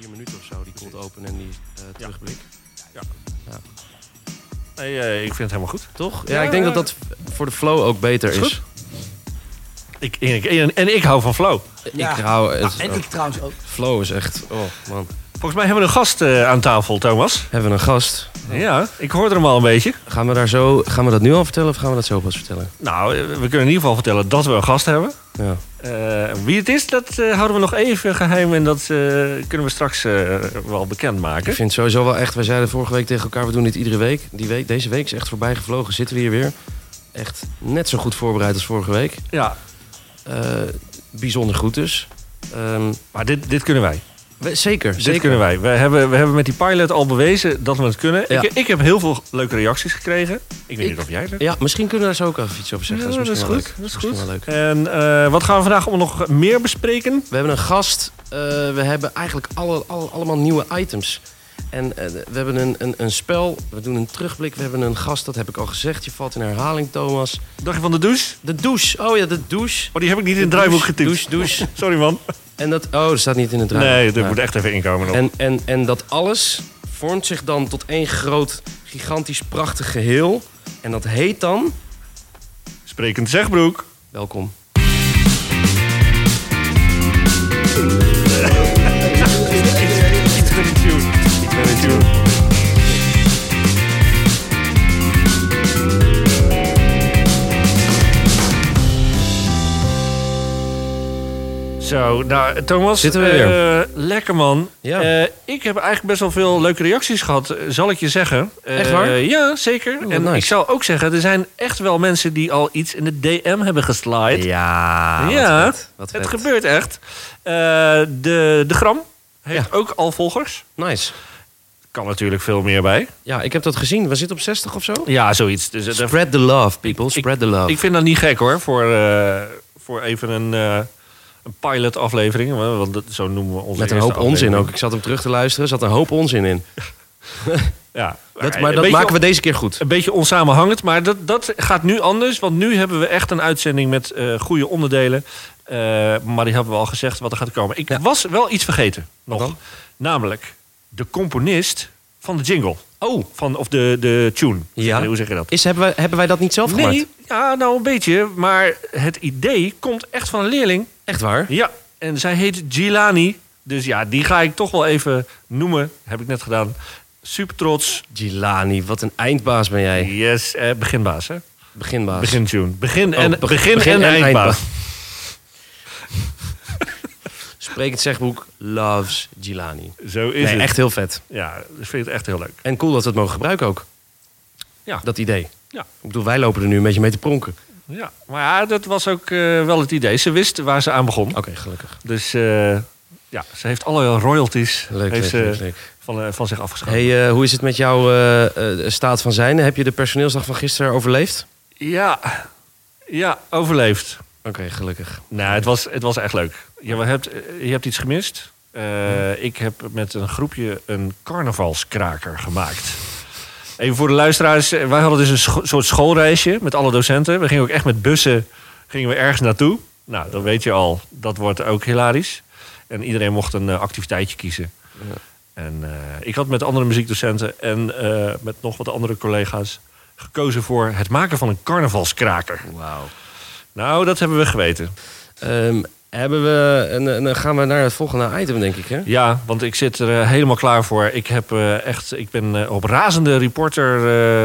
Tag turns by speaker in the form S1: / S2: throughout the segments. S1: vier minuten of zo, die cold open en die eh, terugblik.
S2: Nee, eh, ik vind het helemaal goed.
S1: Toch? Ja, ik denk dat dat voor de flow ook beter
S2: Is
S1: is.
S2: goed. Ik, ik- en, en ik hou van flow.
S3: Ja.
S1: Ik hou... Het,
S3: en ik trouwens ook.
S1: Flow is echt... Oh, man.
S2: Volgens mij hebben we een gast eh, aan tafel, Thomas.
S1: Hebben we een gast?
S2: Ja, ik hoorde hem al een beetje.
S1: Gaan we, daar zo, gaan we dat nu al vertellen of gaan we dat zo pas vertellen?
S2: Nou, eh, we kunnen in ieder geval vertellen dat we een gast hebben.
S1: Ja.
S2: Eh, wie het is, dat eh, houden we nog even geheim. En dat eh, kunnen we straks eh, wel bekendmaken.
S1: Ik vind sowieso wel echt... Wij zeiden vorige week tegen elkaar, we doen dit iedere week. Die week deze week is echt voorbij gevlogen. Zitten we hier weer. Echt net zo goed voorbereid als vorige week.
S2: Ja,
S1: Eh, bijzonder goed dus. Ehm,
S2: maar dit, dit kunnen wij.
S1: we- zeker,
S2: Dit
S1: zeker.
S2: kunnen wij. We hebben, we hebben met die pilot al bewezen dat we het kunnen.
S1: Ja.
S2: Ik, ik heb heel veel leuke reacties gekregen. Ik weet
S1: Ik-
S2: niet of jij dat...
S1: Ja, misschien kunnen we daar zo ook even iets over zeggen.
S2: Ja,
S1: dat is misschien wel
S2: goed.
S1: leuk.
S2: Dat is
S1: misschien
S2: goed.
S1: wel leuk.
S2: En eh, wat gaan we vandaag allemaal nog meer bespreken?
S1: We hebben een gast. eh, we hebben eigenlijk alle, alle- allemaal nieuwe items. En eh, we hebben een, een, een spel. We doen een terugblik. We hebben een gast, dat heb ik al gezegd. Je valt in herhaling, Thomas.
S2: Dag je van de douche?
S1: De douche. Oh ja, de douche.
S2: Maar die heb ik niet in het
S1: De
S2: draaiboek
S1: douche,
S2: getipt.
S1: Douche, douche.
S2: Sorry man.
S1: En dat... Oh, dat staat niet in het draaiboek.
S2: Nee, dat
S1: Nou.
S2: moet echt even inkomen. nog.
S1: En, en, en dat alles vormt zich dan tot één groot, gigantisch, prachtig geheel. En dat heet dan...
S2: Sprekend zegbroek.
S1: Welkom.
S2: Iets met de tune. Iets met de tune. Zo, nou Thomas.
S1: Zitten we weer.
S2: eh, lekker man.
S1: Ja.
S2: Eh, ik heb eigenlijk best wel veel leuke reacties gehad, eh, zal ik je zeggen. Eh,
S1: Echt waar?
S2: ja, zeker.
S1: wat
S2: en
S1: nice.
S2: ik zou ook zeggen, er zijn echt wel mensen die al iets in de DM hebben geslide.
S1: Ja,
S2: Ja,
S1: wat vet, wat
S2: Het
S1: vet.
S2: gebeurt echt. Eh, de, de Gram heeft ook al volgers.
S1: Nice.
S2: Kan natuurlijk veel meer bij.
S1: Ja, ik heb dat gezien. We zitten op 60 of zo.
S2: Ja, zoiets. Dus, het-
S1: Spread the love, people. Spread the love.
S2: ik vind dat niet gek hoor, voor, eh, voor even een, eh, een pilot aflevering. Want dat, zo noemen we onze
S1: Met een
S2: eerste
S1: hoop onzin
S2: aflevering.
S1: ook. Ik zat hem terug te luisteren. Er zat een hoop onzin in.
S2: Ja.
S1: Dat,
S2: Een
S1: maar dat
S2: beetje
S1: maken we deze keer goed.
S2: Een beetje onsamenhangend, maar dat, dat gaat nu anders. Want nu hebben we echt een uitzending met eh, goede onderdelen. Eh, maar die hebben we al gezegd wat er gaat komen. Ik
S1: Ja.
S2: was wel iets vergeten nog.
S1: dan?
S2: Namelijk de componist van de jingle.
S1: Oh,
S2: Van, of de, de tune.
S1: Ja.
S2: Hoe zeg je dat?
S1: is, hebben, wij, hebben wij dat niet zelf gemaakt?
S2: Nee, ja, nou een beetje. Maar het idee komt echt van een leerling.
S1: Echt waar?
S2: Ja, en zij heet Gilani. Dus ja, die ga ik toch wel even noemen. Heb ik net gedaan. Super trots.
S1: Gilani, wat een eindbaas ben jij.
S2: Yes, eh, beginbaas hè?
S1: Beginbaas.
S2: Begin tune. Begin
S1: Oh,
S2: en,
S1: beg-
S2: begin en, eindbaas.
S1: Spreek het zegboek Loves Gilani.
S2: Zo is
S1: Nee,
S2: het.
S1: echt heel vet.
S2: Ja, ik vind het echt heel leuk.
S1: En cool dat we het mogen gebruiken ook.
S2: Ja.
S1: Dat idee.
S2: Ja.
S1: Ik bedoel, wij lopen er nu een beetje mee te pronken.
S2: Ja, maar ja, dat was ook eh, wel het idee. Ze wist waar ze aan begon.
S1: Oké, gelukkig.
S2: Dus eh, ja, ze heeft alle royalties
S1: Leuk,
S2: heeft
S1: leuk,
S2: ze
S1: leuk, leuk.
S2: Van, eh, van zich afgeschaft.
S1: Hey, eh, hoe is het met jouw eh, eh, staat van zijn? Heb je de personeelsdag van gisteren overleefd?
S2: Ja, ja, overleefd.
S1: Oké, gelukkig.
S2: Nou, het was, het was echt leuk. Je hebt, eh, je hebt iets gemist. Eh, Ik heb met een groepje een carnavalskraker gemaakt. Even voor de luisteraars. eh, Wij hadden dus een scho- soort schoolreisje met alle docenten. We gingen ook echt met bussen gingen we ergens naartoe. Nou, dan weet je al, dat wordt ook hilarisch. En iedereen mocht een eh, activiteitje kiezen.
S1: Ja.
S2: En eh, ik had met andere muziekdocenten en eh, met nog wat andere collega's gekozen voor het maken van een carnavalskraker.
S1: Wauw.
S2: Nou, dat hebben we geweten.
S1: Ehm, hebben we, en, en dan gaan we naar het volgende item, denk ik. Hè?
S2: Ja, want ik zit er eh, helemaal klaar voor. Ik, heb, eh, echt, ik ben eh, op razende reporter.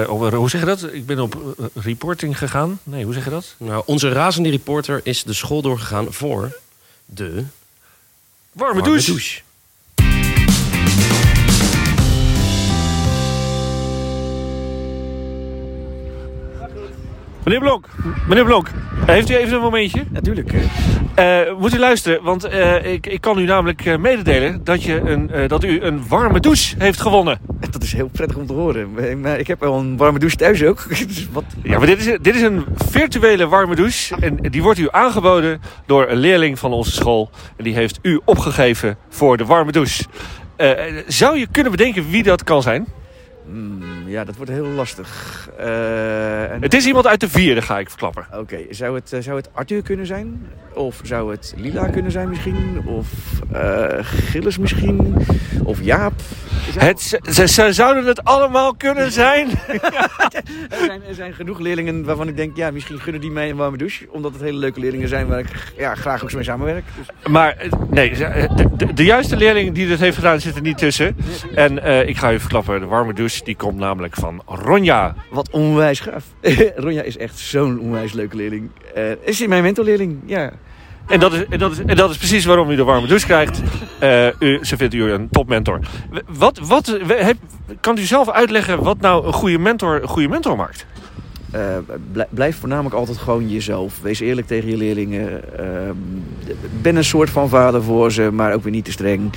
S2: eh, op, hoe zeg je dat? Ik ben op eh, reporting gegaan. Nee, hoe zeg je dat?
S1: Nou, onze razende reporter is de school doorgegaan voor de warme
S2: Warme, douche. Meneer Blok, meneer Blok, heeft u even een momentje?
S3: Natuurlijk.
S2: Eh, moet u luisteren, want eh, ik, ik kan u namelijk eh, mededelen dat, je een, eh, dat u een warme douche heeft gewonnen.
S3: dat is heel prettig om te horen. Eh, Maar ik heb al een warme douche thuis ook. Dus wat?
S2: Ja, maar dit is, dit is een virtuele warme douche. En die wordt u aangeboden door een leerling van onze school. En die heeft u opgegeven voor de warme douche. Eh, zou je kunnen bedenken wie dat kan zijn?
S3: Hmm, ja, dat wordt heel lastig. Eh, en-
S2: Het is iemand uit de vierde, ga ik verklappen.
S3: Oké, zou, het, eh, zou het Arthur kunnen zijn? Of zou het Lila kunnen zijn misschien? Of eh, Gilles misschien? Of Jaap? Zou-
S2: Het, ze, ze- ze zouden het allemaal kunnen zijn.
S3: Er, zijn, er zijn genoeg leerlingen waarvan ik denk, ja, misschien gunnen die mij een warme douche. Omdat het hele leuke leerlingen zijn waar ik ja, graag ook mee samenwerk. Dus,
S2: Maar eh, nee, ze- eh, de, de- de juiste leerling die dit heeft gedaan zit er niet tussen. En eh, ik ga je verklappen, de warme douche die komt namelijk van Ronja.
S3: wat onwijs gaaf. Ronja is echt zo'n onwijs leuke leerling. Eh, is hij mijn mentorleerling? Ja.
S2: En dat, is, en, dat is, en dat is precies waarom u de warme douche krijgt. Eh, u, ze vindt u een topmentor. W- Wat, wat, we- heb, kan u zelf uitleggen wat nou een goede mentor, een goede mentor maakt?
S3: Eh, blij- blijf voornamelijk altijd gewoon jezelf. Wees eerlijk tegen je leerlingen. Eh, ben een soort van vader voor ze, maar ook weer niet te streng.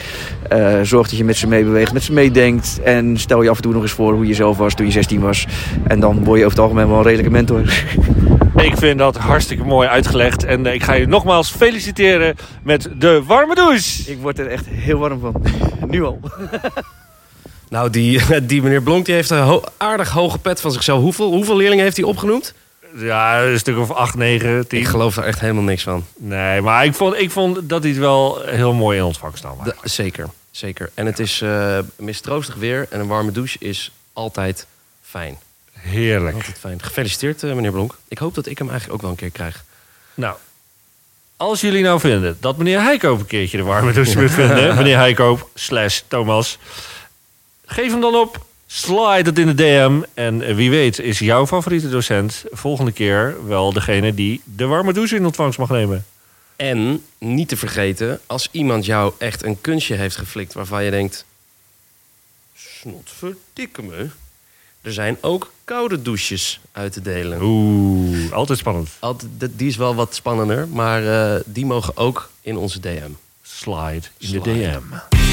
S3: Eh, zorg dat je met ze meebeweegt, met ze meedenkt. En stel je af en toe nog eens voor hoe je zelf was toen je 16 was. En dan word je over het algemeen wel een redelijke mentor.
S2: Ik vind dat hartstikke mooi uitgelegd. En eh, ik ga je nogmaals feliciteren met de warme douche.
S3: Ik word er echt heel warm van. Nu al.
S1: Nou, die, die meneer Blonk die heeft een ho- aardig hoge pet van zichzelf. Hoeveel, hoeveel leerlingen heeft hij opgenoemd?
S2: Ja, een stuk of 8, 9, 10.
S1: Ik geloof daar echt helemaal niks van.
S2: Nee, maar ik vond, ik vond dat hij het wel heel mooi in ontvangst nam.
S1: De- zeker, zeker. En het is eh, mistroostig weer en een warme douche is altijd fijn.
S2: Heerlijk.
S1: Altijd fijn. Gefeliciteerd, eh, meneer Blonk. Ik hoop dat ik hem eigenlijk ook wel een keer krijg.
S2: Nou, als jullie nou vinden dat meneer Heikoop een keertje de warme douche moet vinden... meneer Heikoop slash Thomas, geef hem dan op. Slide het in de DM. En eh, wie weet is jouw favoriete docent volgende keer wel degene... die de warme douche in ontvangst mag nemen.
S1: En niet te vergeten, als iemand jou echt een kunstje heeft geflikt waarvan je denkt: snotverdikke me. Er zijn ook koude douches uit te delen.
S2: Oeh, altijd spannend.
S1: Altijd- dat- Die is wel wat spannender, maar eh, die mogen ook in onze DM.
S2: Slide in de
S1: Slide.
S2: DM.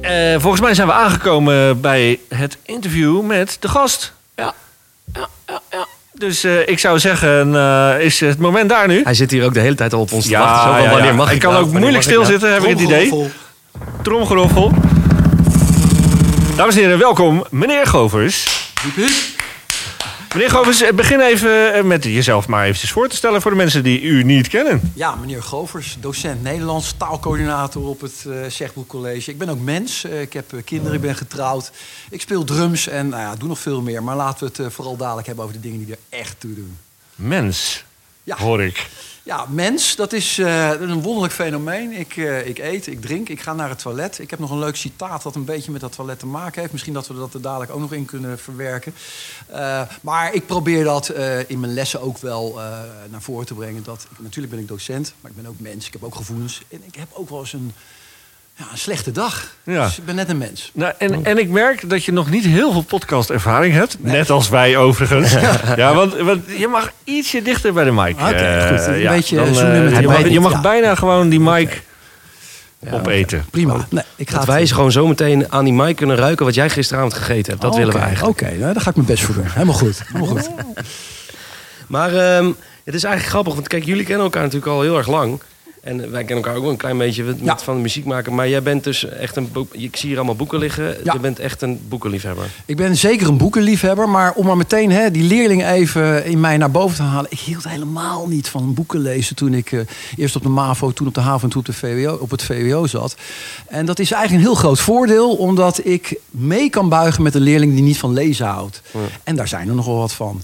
S2: Eh, volgens mij zijn we aangekomen bij het interview met de gast.
S1: Ja.
S2: Dus eh, ik zou zeggen, eh, is het moment daar nu?
S1: Hij zit hier ook de hele tijd al op ons te wachten. Zo, van, wanneer mag ik,
S2: ik kan
S1: nou?
S2: ook
S1: Wanneer
S2: moeilijk
S1: mag ik nou?
S2: stilzitten, Eh, heb ik het idee. Tromgeroffel. Dames en heren, welkom, meneer Govers. Meneer Govers, eh, begin even eh, met jezelf maar eventjes voor te stellen voor de mensen die u niet kennen.
S4: Ja, meneer Govers, docent Nederlands, taalcoördinator op het eh Zegboek College. Ik ben ook mens. Eh, ik heb eh, kinderen, ik ben getrouwd. Ik speel drums en nou ja, doe nog veel meer. Maar laten we het eh, vooral dadelijk hebben over de dingen die er echt toe doen.
S2: Mens,
S4: Ja.
S2: hoor ik.
S4: Ja, mens, dat is eh, een wonderlijk fenomeen. Ik, eh, ik eet, ik drink, ik ga naar het toilet. Ik heb nog een leuk citaat dat een beetje met dat toilet te maken heeft. Misschien dat we dat er dadelijk ook nog in kunnen verwerken. Eh, maar ik probeer dat eh, in mijn lessen ook wel eh, naar voren te brengen. Dat, ik- natuurlijk ben ik docent, maar ik ben ook mens. Ik heb ook gevoelens. En ik heb ook wel eens een, ja, een slechte dag.
S2: Ja.
S4: Dus ik ben net een mens.
S2: Nou, en, en ik merk dat je nog niet heel veel podcastervaring hebt. Net als wij overigens. ja, want, want je mag ietsje dichter bij de mic.
S4: Oké,
S2: eh,
S4: goed. Een
S2: ja,
S4: beetje
S2: dan, eh,
S4: zoomen met de
S2: je mag,
S4: mic.
S2: je mag
S4: Ja.
S2: bijna gewoon die mic
S1: Ja,
S2: opeten.
S4: Prima. Nee, ik ga
S1: Oh, Dat
S4: het-
S1: wij eens gewoon zo meteen aan die mic kunnen ruiken wat jij gisteravond gegeten hebt. Dat
S2: Oh,
S1: willen we
S4: Oh, Oké,
S1: eigenlijk.
S4: Oké, nou, daar ga ik mijn best voor doen. Helemaal goed. Helemaal goed.
S1: Maar ehm, het is eigenlijk grappig, want kijk, jullie kennen elkaar natuurlijk al heel erg lang. En wij kennen elkaar ook wel een klein beetje met, met
S4: Ja.
S1: van muziek maken. Maar jij bent dus echt een boek. Ik zie hier allemaal boeken liggen.
S4: Ja.
S1: Je bent echt een boekenliefhebber.
S4: Ik ben zeker een boekenliefhebber, maar om maar meteen hè, die leerling even in mij naar boven te halen. Ik hield helemaal niet van boeken lezen toen ik eh, eerst op de MAVO, toen op de HAVO en toen op, de VWO, op het VWO zat. En dat is eigenlijk een heel groot voordeel, omdat ik mee kan buigen met een leerling die niet van lezen houdt. En daar zijn er nogal wat van.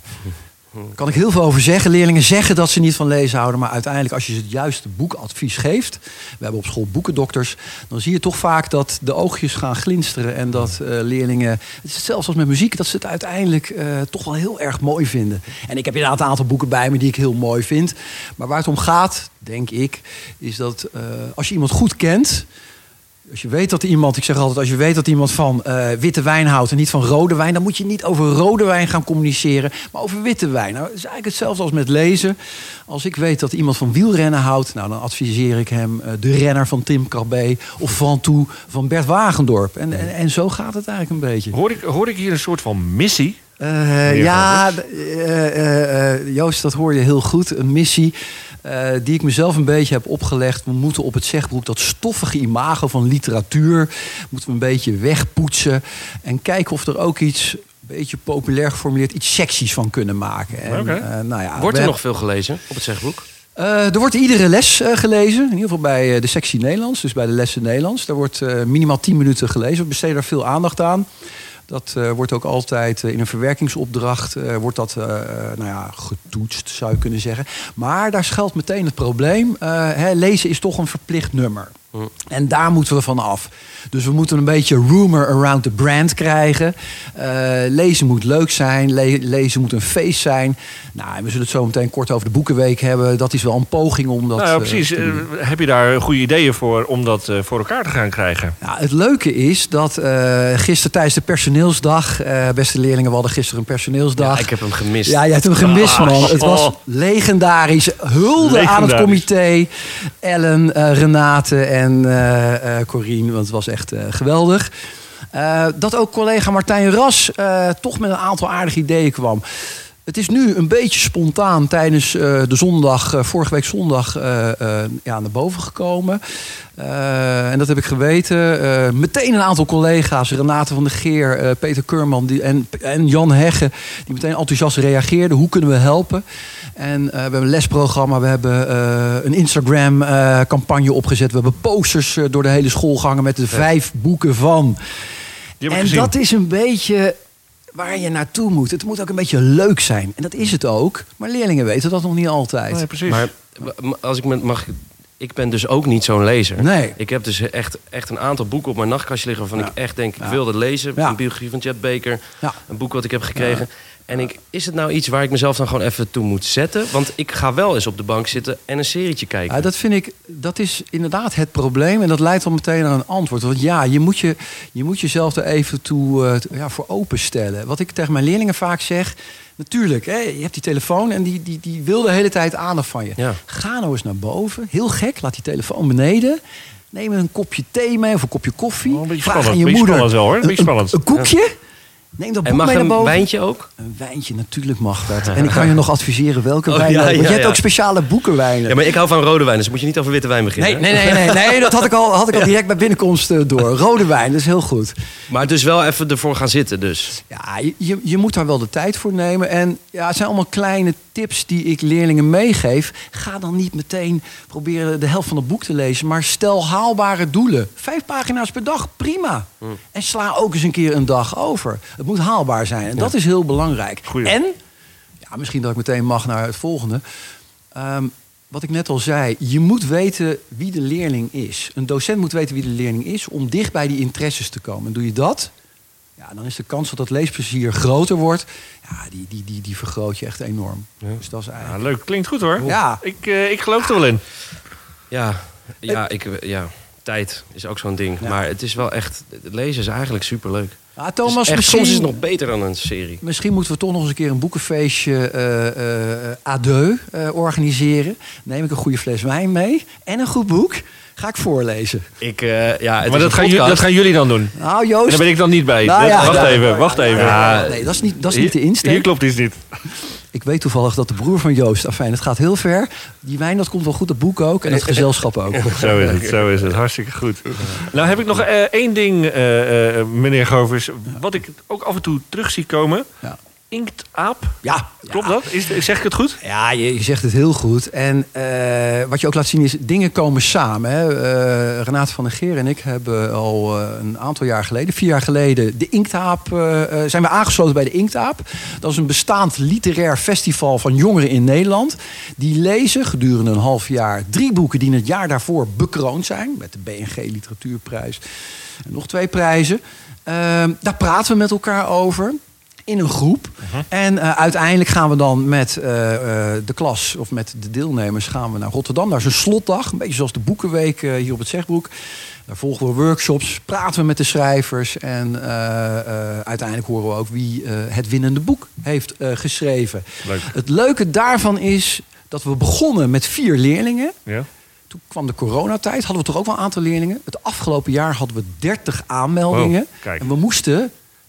S4: Daar kan ik heel veel over zeggen. Leerlingen zeggen dat ze niet van lezen houden. Maar uiteindelijk, als je ze het juiste boekadvies geeft. We hebben op school boekendokters. Dan zie je toch vaak dat de oogjes gaan glinsteren. En dat eh, leerlingen. Het is zelfs als met muziek. Dat ze het uiteindelijk eh, toch wel heel erg mooi vinden. En ik heb inderdaad een aantal boeken bij me die ik heel mooi vind. Maar waar het om gaat, denk ik. Is dat eh, als je iemand goed kent. Als je weet dat iemand, ik zeg altijd, als je weet dat iemand van eh, witte wijn houdt en niet van rode wijn, dan moet je niet over rode wijn gaan communiceren, maar over witte wijn. Nou, het is eigenlijk hetzelfde als met lezen. Als ik weet dat iemand van wielrennen houdt, nou, dan adviseer ik hem eh, de renner van Tim Krabbe of van toe van Bert Wagendorp. En, en, en zo gaat het eigenlijk een beetje.
S2: Hoor ik, hoor ik hier een soort van missie?
S4: Eh, ja, d- eh, eh, eh, Joost, dat hoor je heel goed. Een missie. eh, die ik mezelf een beetje heb opgelegd. We moeten op het zegboek dat stoffige imago van literatuur... moeten we een beetje wegpoetsen. En kijken of er ook iets, een beetje populair geformuleerd... iets seksies van kunnen maken. En,
S2: Oké.
S4: eh, nou ja,
S1: Wordt
S4: we-
S1: er nog veel gelezen op het zegboek?
S4: eh, er wordt iedere les eh, gelezen. In ieder geval bij eh, de sectie Nederlands, dus bij de lessen Nederlands. Daar wordt eh, minimaal 10 minuten gelezen. We besteden daar veel aandacht aan. Dat eh, wordt ook altijd eh, in een verwerkingsopdracht eh, wordt dat, eh, eh, nou ja, getoetst, zou je kunnen zeggen. Maar daar schuilt meteen het probleem. Eh, hè, lezen is toch een verplicht nummer. En daar moeten we van af. Dus we moeten een beetje rumor around the brand krijgen. Eh, lezen moet leuk zijn. Le- lezen moet een feest zijn. Nou, en we zullen het zo meteen kort over de Boekenweek hebben. Dat is wel een poging om dat...
S2: nou, ja,
S4: eh,
S2: precies.
S4: te doen.
S2: Eh, heb je daar goede ideeën voor om dat eh, voor elkaar te gaan krijgen?
S4: Ja, Nou, het leuke is dat eh gisteren tijdens de personeelsdag... eh, beste leerlingen, we hadden gisteren een personeelsdag.
S1: Ja, ik heb hem gemist.
S4: Ja, jij hebt hem gemist,
S2: Ah,
S4: man. Het was
S2: oh.
S4: legendarisch. Hulde aan het
S2: Legendarisch.
S4: comité. Ellen, eh, Renate en eh, eh, Corine, want het was echt eh, geweldig. Eh, dat ook collega Martijn Ras eh, toch met een aantal aardige ideeën kwam. Het is nu een beetje spontaan tijdens eh, de zondag, eh, vorige week zondag, eh, eh, ja, naar boven gekomen. Eh, en dat heb ik geweten. Eh, meteen een aantal collega's, Renate van der Geer, eh, Peter Keurman die, en, en Jan Hegge, die meteen enthousiast reageerden. Hoe kunnen we helpen? En eh, we hebben een lesprogramma, we hebben eh, een Instagram-campagne opgezet. We hebben posters eh, door de hele school gehangen met de vijf boeken van.
S2: Die heb ik
S4: En
S2: gezien.
S4: dat is een beetje waar je naartoe moet. Het moet ook een beetje leuk zijn. En dat is het ook. Maar leerlingen weten dat nog niet altijd.
S2: Nee, precies.
S1: Maar m- als ik me mag. Ik ben dus ook niet zo'n lezer.
S4: Nee.
S1: Ik heb dus echt, echt een aantal boeken op mijn nachtkastje liggen waarvan
S4: Ja.
S1: ik echt denk, ik
S4: Ja.
S1: wil dat lezen.
S4: Ja.
S1: Een biografie van Jet Baker,
S4: Ja.
S1: een boek wat ik heb gekregen. En ik, is het nou iets waar ik mezelf dan gewoon even toe moet zetten? Want ik ga wel eens op de bank zitten en een serietje kijken.
S4: Ja, dat vind ik, dat is inderdaad het probleem. En dat leidt al meteen aan een antwoord. Want ja, je moet, je, je moet jezelf er even toe eh, t- ja, voor openstellen. Wat ik tegen mijn leerlingen vaak zeg. Natuurlijk, hè, je hebt die telefoon en die, die, die wil de hele tijd aandacht van je.
S1: Ja.
S4: Ga nou eens naar boven. Heel gek, laat die telefoon beneden. Neem een kopje thee mee of een kopje koffie.
S2: Wel een beetje
S4: Vraag
S2: spannend,
S4: aan je
S2: beetje
S4: moeder.
S2: spannend wel, hoor. Een
S4: Een,
S2: beetje spannend.
S4: een koekje? Neem dat boek
S1: en mag
S4: mee naar
S1: een
S4: boven.
S1: wijntje ook?
S4: Een wijntje, natuurlijk mag dat. En ik kan je nog adviseren welke
S1: Oh,
S4: wijn.
S1: ja,
S4: want
S1: ja,
S4: je hebt
S1: ja.
S4: ook speciale boekenwijnen.
S1: Ja, maar ik hou van rode wijn, dus moet je niet over witte wijn beginnen.
S4: Nee,
S1: hè?
S4: nee, nee, nee, nee, dat had ik al, had ik al direct bij binnenkomst eh, door. Rode wijn, dat is heel goed.
S1: Maar dus wel even ervoor gaan zitten dus.
S4: Ja, je- je, je moet daar wel de tijd voor nemen. En ja, het zijn allemaal kleine tips die ik leerlingen meegeef. Ga dan niet meteen proberen de helft van het boek te lezen. Maar stel haalbare doelen. Vijf pagina's per dag, prima. En sla ook eens een keer een dag over. Het moet haalbaar zijn. En dat is heel belangrijk.
S2: Goeie.
S4: En, ja, misschien dat ik meteen mag naar het volgende. Ehm, wat ik net al zei, je moet weten wie de leerling is. Een docent moet weten wie de leerling is om dicht bij die interesses te komen. En doe je dat, ja, dan is de kans dat dat leesplezier groter wordt. Ja, die, die, die, die vergroot je echt enorm. Dus dat is
S2: Ja,
S4: eigenlijk.
S2: Nou, leuk, klinkt goed hoor.
S4: Ja.
S2: Ik, eh, ik geloof er wel in.
S1: Ja, ja, ik, ja tijd is ook zo'n ding.
S4: Ja.
S1: Maar het is wel echt, het lezen is eigenlijk superleuk.
S4: Ah,
S1: Het
S4: Thomas,
S1: is echt-
S4: misschien,
S1: soms is het nog beter dan een serie.
S4: misschien moeten we toch nog eens een keer een boekenfeestje eh eh, à deux eh, organiseren. Neem ik een goede fles wijn mee en een goed boek. Ga ik voorlezen.
S1: Ik, eh, ja, het
S2: maar
S1: is
S2: dat
S1: een
S2: gaan, jullie- dat
S1: podcast.
S2: gaan jullie dan doen.
S4: Nou,
S2: En
S4: Joost.
S2: daar ben ik dan niet bij.
S4: Nou
S2: Dat-
S4: ja,
S2: wacht
S4: ja.
S2: even, wacht even.
S4: Ja, nee, dat is niet, dat is niet de
S2: Hier- Hier
S4: insteek.
S2: klopt iets niet.
S4: Ik weet toevallig dat de broer van Joost, afijn, het gaat heel ver. Die wijn, dat komt wel goed, dat boek ook en het gezelschap ook.
S2: Zo is het, zo is het. Hartstikke goed. Nou heb ik nog eh, één ding, eh, eh, meneer Govers. Wat ik ook af en toe terug zie komen.
S4: Ja.
S2: Inktaap.
S4: Ja,
S2: Klopt dat? Is, zeg ik het goed?
S4: Ja, je, je zegt het heel goed. En eh, wat je ook laat zien is, dingen komen samen. Hè. Eh, Renate van der Geer en ik hebben al eh, een aantal jaar geleden, vier jaar geleden, de Inktaap, eh, eh, zijn we aangesloten bij de Inktaap. Dat is een bestaand literair festival van jongeren in Nederland. Die lezen gedurende een half jaar drie boeken die in het jaar daarvoor bekroond zijn. Met de BNG Literatuurprijs en nog twee prijzen. Ehm, daar praten we met elkaar over in een groep. En eh, uiteindelijk gaan we dan met eh, eh, de klas of met de deelnemers gaan we naar Rotterdam. Daar is een slotdag, een beetje zoals de Boekenweek eh, hier op het Zegboek. Daar volgen we workshops, praten we met de schrijvers. En eh, eh, uiteindelijk horen we ook wie eh, het winnende boek heeft eh, geschreven.
S2: Leuk.
S4: Het leuke daarvan is dat we begonnen met vier leerlingen.
S2: Ja.
S4: Toen kwam de coronatijd, hadden we toch ook wel een aantal leerlingen. Het afgelopen jaar hadden we 30 aanmeldingen.
S2: Wow, kijk.
S4: en we moesten, hè,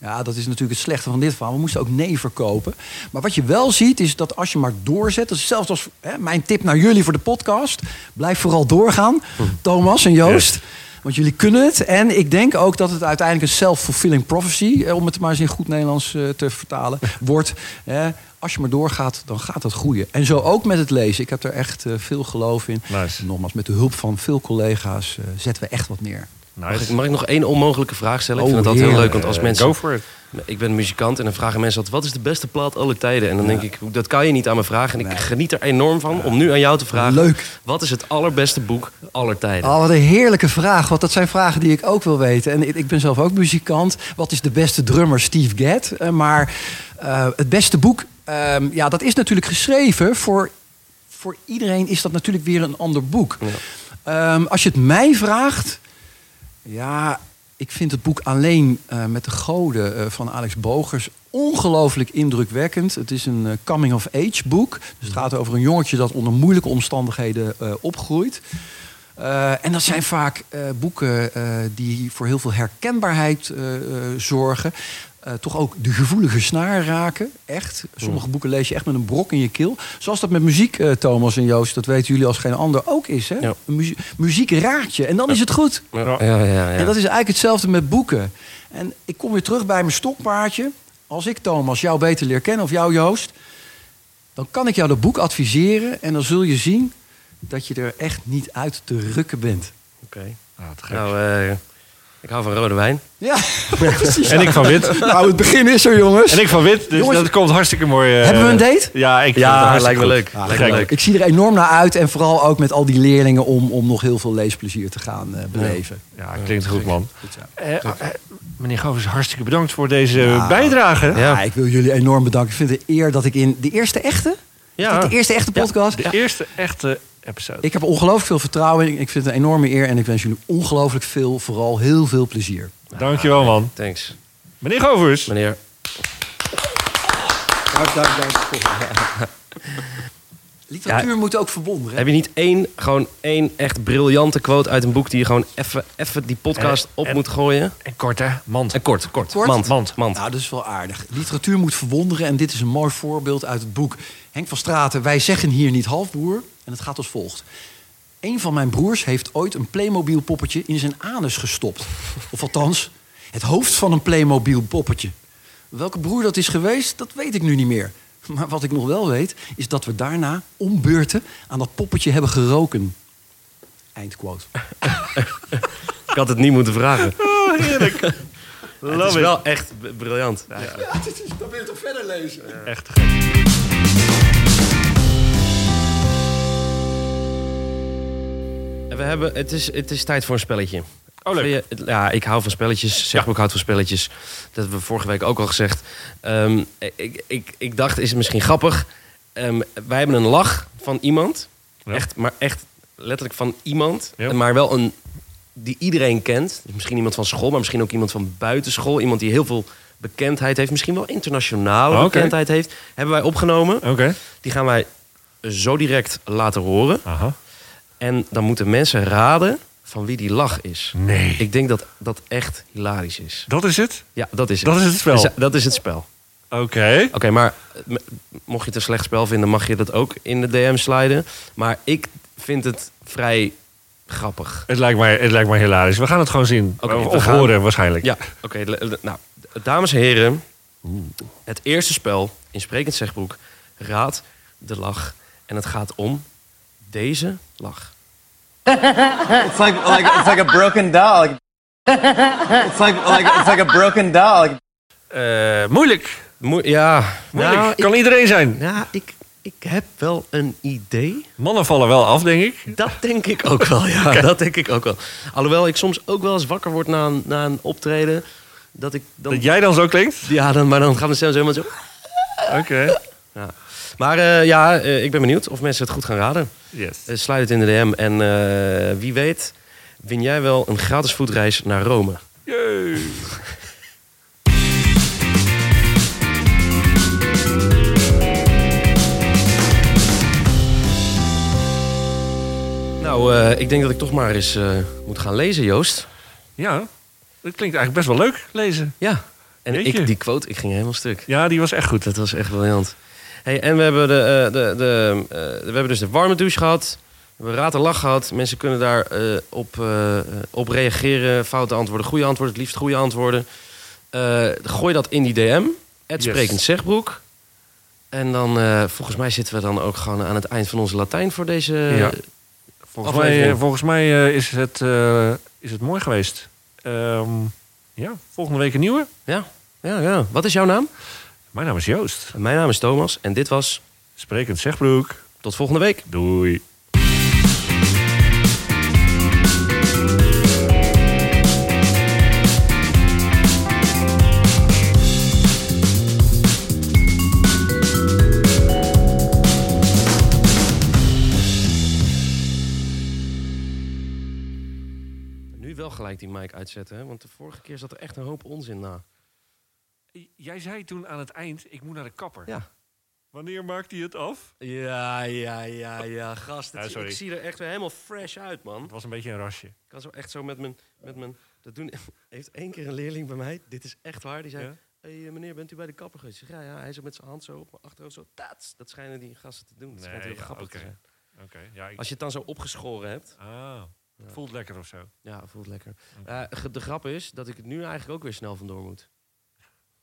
S4: Ja, dat is natuurlijk het slechte van dit verhaal. We moesten ook nee verkopen. Maar wat je wel ziet, is dat als je maar doorzet... Dat is zelfs als hè, mijn tip naar jullie voor de podcast... blijf vooral doorgaan, Thomas en Joost. Want jullie kunnen het. En ik denk ook dat het uiteindelijk een self-fulfilling prophecy... eh, om het maar eens in goed Nederlands eh, te vertalen, wordt... Hè, als je maar doorgaat, dan gaat dat groeien. En zo ook met het lezen. Ik heb er echt eh, veel geloof in.
S2: Nice.
S4: Nogmaals, met de hulp van veel collega's eh, zetten we echt wat neer.
S1: Mag ik,
S2: Nice.
S1: mag ik nog één onmogelijke vraag stellen? Ik
S4: Oh,
S1: vind dat altijd heel leuk,
S4: heerlijk.
S1: want als mensen...
S2: Eh, Go for it.
S1: Ik ben muzikant en dan vragen mensen altijd... wat is de beste plaat aller tijden? En dan denk ik, dat kan je niet aan me vragen. En ik
S4: Nee.
S1: geniet er enorm van om nu aan jou te vragen...
S4: Leuk.
S1: wat is het allerbeste boek aller tijden?
S4: Oh, wat een heerlijke vraag. Want dat zijn vragen die ik ook wil weten. En ik, ik ben zelf ook muzikant. Wat is de beste drummer? Steve Gadd. Eh, maar eh, het beste boek, ehm, ja, dat is natuurlijk geschreven voor, voor iedereen is dat natuurlijk weer een ander boek. Ehm, als je het mij vraagt, ja, ik vind het boek Alleen eh, met de Goden eh, van Alex Bogers ongelooflijk indrukwekkend. Het is een eh, coming-of-age boek. Dus het gaat over een jongetje dat onder moeilijke omstandigheden eh, opgroeit. Eh, en dat zijn vaak eh, boeken eh, die voor heel veel herkenbaarheid eh, eh, zorgen. Eh, toch ook de gevoelige snaar raken. Echt. Sommige boeken lees je echt met een brok in je keel. Zoals dat met muziek, eh, Thomas en Joost, dat weten jullie als geen ander ook is. Hè?
S1: Ja.
S4: Muzie- muziek raakt je en dan is het goed.
S1: Ja, ja, ja.
S4: En dat is eigenlijk hetzelfde met boeken. En ik kom weer terug bij mijn stokpaardje. Als ik, Thomas, jou beter leer kennen of jou, Joost... dan kan ik jou dat boek adviseren en dan zul je zien... dat je er echt niet uit te rukken bent.
S1: Oké.
S2: Ah, te gek.
S1: Nou, eh, ik hou van rode wijn.
S4: Ja, precies.
S2: en ik van wit.
S4: Nou, het begin is er, jongens.
S2: En ik van wit. Dus
S4: Jongens,
S2: dat komt hartstikke mooi. eh,
S4: hebben we een date?
S2: Ja, ik vind
S1: Ja,
S2: het
S1: lijkt
S2: hartstikke
S1: me
S2: goed.
S1: leuk.
S2: Te
S1: Lijkt me
S2: gek.
S1: leuk.
S4: Ik zie er enorm naar uit en vooral ook met al die leerlingen... om, om nog heel veel leesplezier te gaan eh, beleven.
S2: Ja, klinkt goed, man.
S4: Goed zo.
S2: Eh, eh, meneer Govers, hartstikke bedankt voor deze bijdrage.
S1: Ja.
S4: Ah, ik wil jullie enorm bedanken. Ik vind het een eer dat ik in de eerste echte...
S1: Ja.
S4: Is dit de eerste echte podcast?
S2: De eerste echte episode.
S4: Ik heb er ongelooflijk veel vertrouwen in. Ik vind het een enorme eer en ik wens jullie ongelooflijk veel, vooral heel veel plezier.
S2: Dankjewel, man.
S1: Thanks,
S2: Meneer Govers.
S1: meneer.
S4: Literatuur moet ook verbonden. Hè?
S1: Heb je niet één, gewoon één echt briljante quote uit een boek... die je gewoon even, even die podcast
S2: Eh,
S1: op
S2: eh.
S1: moet gooien?
S2: En kort, hè? Mand.
S1: En kort, kort.
S4: Kort?
S1: Mand,
S2: Mand.
S1: mand.
S4: Nou, dat is wel aardig. Literatuur moet verwonderen en dit is een mooi voorbeeld uit het boek Henk van Straten. Wij zeggen hier niet halfbroer en het gaat als volgt. Een van mijn broers heeft ooit een Playmobil poppetje in zijn anus gestopt. Of althans, het hoofd van een Playmobil poppetje. Welke broer dat is geweest, dat weet ik nu niet meer. Maar wat ik nog wel weet, is dat we daarna om beurten aan dat poppetje hebben geroken. Eindquote.
S1: Ik had het niet moeten vragen. het is
S2: Love it.
S1: wel echt b- briljant.
S4: Dan wil je toch verder lezen?
S2: Echt gek.
S1: En we hebben, het, is, het is tijd voor een spelletje.
S2: Oh, leuk.
S1: Vind je- ja, ik hou van spelletjes. Zeg
S2: Ja.
S1: ook houdt van spelletjes. Dat hebben we vorige week ook al gezegd. Ehm, ik, ik, ik dacht, is het misschien grappig? Ehm, wij hebben een lach van iemand.
S2: Ja.
S1: Echt, maar echt letterlijk van iemand.
S2: Ja.
S1: Maar wel een die iedereen kent. Dus misschien iemand van school, maar misschien ook iemand van buitenschool. Iemand die heel veel bekendheid heeft. Misschien wel internationale
S2: Oh, oké.
S1: bekendheid heeft. Hebben wij opgenomen.
S2: Oké.
S1: Die gaan wij zo direct laten horen.
S2: Aha.
S1: En dan moeten mensen raden van wie die lach is.
S2: Nee.
S1: Ik denk dat dat echt hilarisch is.
S2: Dat is het?
S1: Ja, dat is het.
S2: Dat is het spel.
S1: Dus, eh, dat is het spel. Oké,
S2: Oké.
S1: maar eh, m- mocht je het een slecht spel vinden, mag je dat ook in de DM sliden. Maar ik vind het vrij grappig.
S2: Het, lijkt mij, het lijkt mij hilarisch. We gaan het gewoon zien.
S1: Oké,
S2: of
S1: we gaan-
S2: horen waarschijnlijk.
S1: Ja, oké. le- le- nou, dames en heren. Het eerste spel in Sprekend Zegbroek. Raad de lach. En het gaat om deze lach.
S5: It's like like it's like a broken doll. It's like like it's like a broken doll.
S2: Eh, moeilijk.
S1: Moe- ja,
S2: Moeilijk.
S1: nou, ik,
S2: kan iedereen zijn.
S1: nou, ik, ik heb wel een idee.
S2: Mannen vallen wel af, denk ik.
S1: Dat denk ik ook wel, ja. Dat denk ik ook wel. Alhoewel ik soms ook wel eens wakker word na een, na een optreden. Dat ik dan...
S2: Dat jij dan zo klinkt?
S1: Ja, dan, maar dan gaan de stems helemaal zo...
S2: Oké.
S1: Ja. Maar eh, ja, eh, ik ben benieuwd of mensen het goed gaan raden.
S2: Yes.
S1: Eh, sluit het in de DM. En eh, wie weet win jij wel een gratis voetreis naar Rome.
S2: Yay.
S1: Nou, eh, ik denk dat ik toch maar eens eh, moet gaan lezen, Joost.
S2: Ja, dat klinkt eigenlijk best wel leuk, lezen.
S1: Ja. En
S2: Jeetje.
S1: ik, die quote, ik ging helemaal stuk.
S2: Ja, die was echt goed.
S1: Dat was echt briljant. Hey, en we hebben, de, eh, de, de, eh, we hebben dus de warme douche gehad. We hebben raad en lach gehad. Mensen kunnen daar eh, op, eh, op reageren. Foute antwoorden, goede antwoorden. Het liefst goede antwoorden. Eh, gooi dat in die DM. Het
S2: Yes.
S1: sprekend zegbroek. En dan, eh, volgens mij zitten we dan ook gewoon aan het eind van onze Latijn voor deze...
S2: Ja. Volgens mij,
S1: Aflevering.
S2: eh, volgens mij eh, is, het, eh, is het mooi geweest. Ehm, ja, volgende week een nieuwe.
S1: ja, ja, ja. Wat is jouw naam?
S2: Mijn naam is Joost.
S1: Mijn naam is Thomas en dit was...
S2: Sprekend Zegbroek.
S1: Tot volgende week.
S2: Doei.
S1: Nu wel gelijk die mic uitzetten, hè? want de vorige keer zat er echt een hoop onzin na.
S2: Jij zei toen aan het eind, ik moet naar de kapper.
S1: Ja.
S2: Wanneer maakt hij het af?
S1: Ja, ja, ja, ja, gast. het-
S2: Ja, sorry.
S1: ik zie er echt weer helemaal fresh uit, man.
S2: Het was een beetje een rasje.
S1: Ik kan zo echt zo met mijn... Met mijn dat doen, heeft één keer een leerling bij mij, dit is echt waar, die zei...
S2: Ja?
S1: hey, eh, meneer, bent u bij de kapper geweest? Ik zeg, ja, ja, hij zo met zijn hand zo op mijn achterhoofd zo... Taats, dat schijnen die gasten te doen. Dat schijnt
S2: Nee,
S1: heel
S2: ja,
S1: grappig te
S2: oké.
S1: zijn.
S2: Oké, ja. Ik...
S1: Als je het dan zo opgeschoren hebt...
S2: Ah, het voelt lekker of zo.
S1: Ja, voelt lekker. Eh, ge- de grap is dat ik het nu eigenlijk ook weer snel vandoor moet.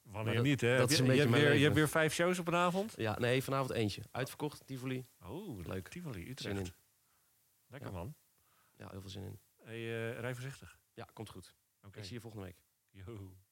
S2: Wanneer
S1: dat-
S2: niet, hè?
S1: dat
S2: Heb
S1: is een
S2: je- je,
S1: beetje
S2: hebt
S1: mijn
S2: weer, je
S1: leven.
S2: hebt weer vijf shows op een avond?
S1: Ja, nee, vanavond eentje. Uitverkocht, Tivoli.
S2: Oh,
S1: Leuk.
S2: leuk. Tivoli,
S1: Zin in.
S2: Utrecht. Lekker,
S1: Ja.
S2: man.
S1: Ja, heel veel zin in.
S2: Hey, eh, rij voorzichtig.
S1: Ja, komt goed.
S2: Oké.
S1: Ik zie je volgende week.
S2: Joe.